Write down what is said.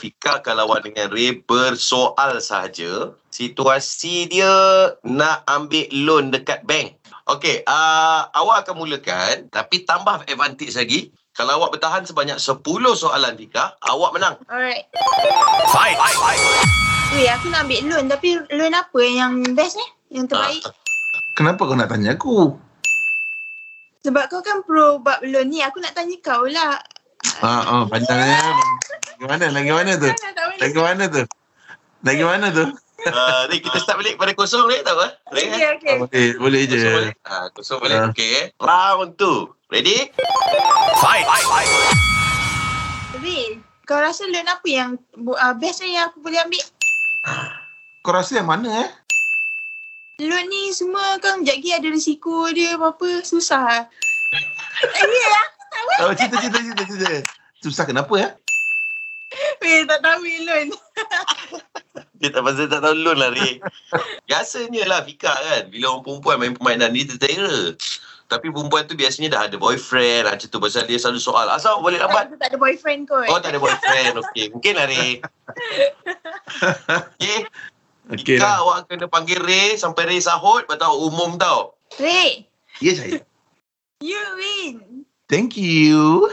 Fika kalau lawan dengan Ray bersoal sahaja situasi dia nak ambil loan dekat bank. Okey, uh, awak akan mulakan tapi tambah advantage lagi. Kalau awak bertahan sebanyak 10 soalan Fika, awak menang. Alright. Fight. Weh, aku nak ambil loan tapi loan apa yang best ni? Yang Ah, terbaik? Ah, Kenapa kau nak tanya aku? Sebab kau kan pro bab loan ni. Aku nak tanya kau lah. Ha ah, panjangnya. Gimana? Lagi mana tu? Kan tak boleh. Lagi mana tu? Lagi mana tu? Uh, Ray, kita start balik pada kosong, Ray, tahu eh? Ray, eh? Okay, okay. Ah, Boleh, boleh je. Kosong balik. Ah, kosong balik. Ah. Okey, eh. Round 2. Ready? Fight. Ray, kau rasa loan apa yang bu- uh, best ni yang aku boleh ambil? Kau rasa yang mana eh? Loan ni semua kan sekejap lagi ada risiko dia apa-apa. Susah lah. Ini lah. Oh, cerita, cerita, cerita, cerita. Susah kenapa eh? Weh, tak tahu ni loan. Dia tak pasal tak tahu loan lah, Ray. Biasanya lah Fika kan. Bila orang perempuan main permainan ni, dia tertera. Tapi perempuan tu biasanya dah ada boyfriend. Macam tu pasal dia selalu soal. Asal awak balik lambat? Aku tak ada boyfriend kot. Oh tak ada boyfriend Okay Mungkin lah Ray Okay Okey Jika lah. awak kena panggil Ray Sampai Ray sahut Lepas tu awak umum tau Ray, Ya, saya. you win. Thank you.